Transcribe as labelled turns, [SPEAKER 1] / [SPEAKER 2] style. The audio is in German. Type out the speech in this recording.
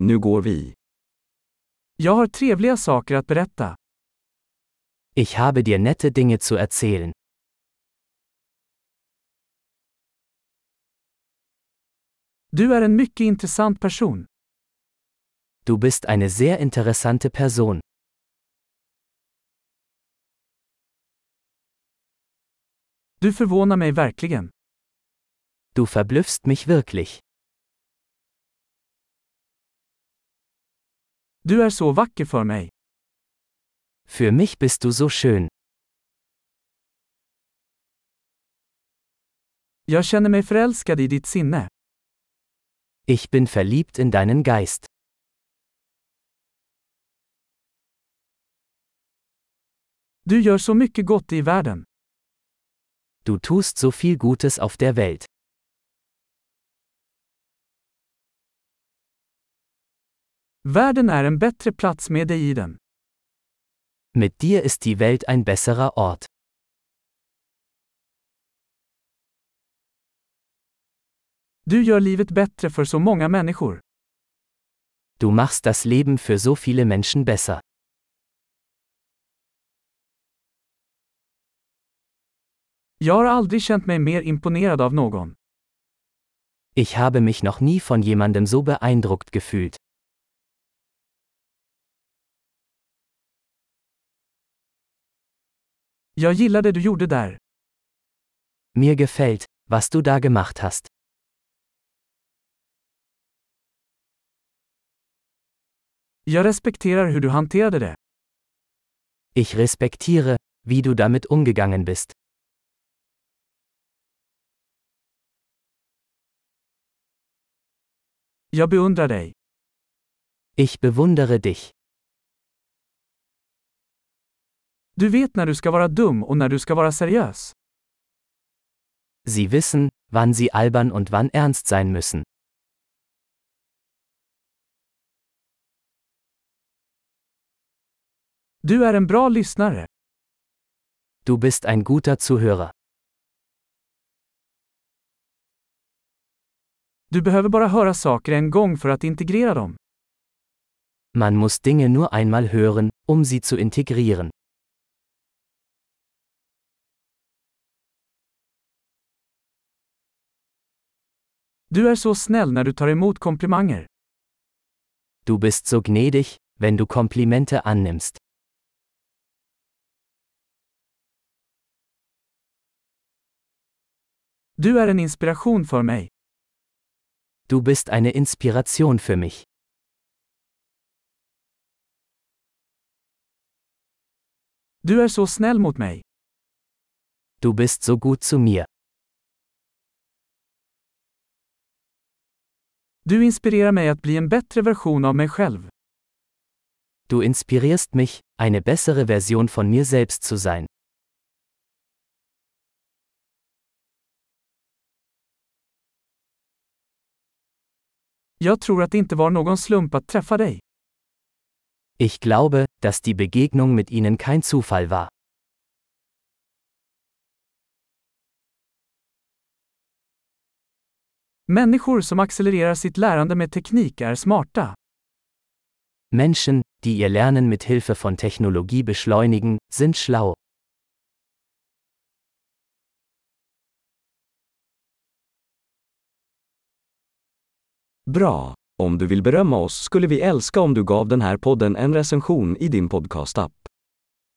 [SPEAKER 1] Nu går vi.
[SPEAKER 2] Jag har trevliga saker att berätta.
[SPEAKER 3] Ich habe dir nette Dinge zu erzählen.
[SPEAKER 2] Du är en mycket intressant person.
[SPEAKER 3] Du bist eine sehr interessante Person.
[SPEAKER 2] Du förvånar mig verkligen.
[SPEAKER 3] Du verblüffst mich wirklich.
[SPEAKER 2] Du är så vacker för mig.
[SPEAKER 3] Für mich bist du so schön.
[SPEAKER 2] Jag känner mig förälskad i ditt sinne.
[SPEAKER 3] Ich bin verliebt in deinen Geist.
[SPEAKER 2] Du gör så mycket gott i världen.
[SPEAKER 3] Du tust so viel Gutes auf der Welt.
[SPEAKER 2] Världen är en bättre plats med dig i den.
[SPEAKER 3] Mit dir ist die Welt ein besserer Ort.
[SPEAKER 2] Du gör livet bättre för så många människor.
[SPEAKER 3] Du machst das Leben für so viele Menschen besser.
[SPEAKER 2] Jag har aldrig känt mig mer imponerad av någon.
[SPEAKER 3] Ich habe mich noch nie von jemandem so beeindruckt gefühlt.
[SPEAKER 2] Jag gillar det du gjorde där.
[SPEAKER 3] Mir gefällt, was du da gemacht hast.
[SPEAKER 2] Jag respekterar hur du hanterade det.
[SPEAKER 3] Ich respektiere, wie du damit umgegangen bist.
[SPEAKER 2] Jag beundrar dig.
[SPEAKER 3] Ich bewundere dich.
[SPEAKER 2] Du vet när du ska vara dum och när du ska vara seriös.
[SPEAKER 3] Sie wissen, wann sie albern und wann ernst sein müssen.
[SPEAKER 2] Du är en bra lyssnare.
[SPEAKER 3] Du bist ein guter Zuhörer.
[SPEAKER 2] Du behöver bara höra saker en gång för att integrera dem.
[SPEAKER 3] Man muss Dinge nur einmal hören, um sie zu integrieren.
[SPEAKER 2] Du är så snäll när du tar emot komplimanger.
[SPEAKER 3] Du bist so gnädig, wenn du Komplimente annimmst.
[SPEAKER 2] Du är en inspiration för mig.
[SPEAKER 3] Du bist eine Inspiration für mich.
[SPEAKER 2] Du är så snäll mot mig.
[SPEAKER 3] Du bist so gut zu mir.
[SPEAKER 2] Du inspirerar mig att bli en bättre version av mig själv.
[SPEAKER 3] Du inspirierst mich, eine bessere Version von mir selbst zu sein.
[SPEAKER 2] Jag tror att det inte var någon slump att träffa dig.
[SPEAKER 3] Ich glaube, dass die Begegnung mit ihnen kein Zufall war.
[SPEAKER 2] Människor som accelererar sitt lärande med teknik är smarta.
[SPEAKER 3] Menschen, die ihr Lernen mit Hilfe von Technologie beschleunigen, sind schlau.
[SPEAKER 1] Bra! Om du vill berömma oss skulle vi älska om du gav den här podden en recension i din podcastapp.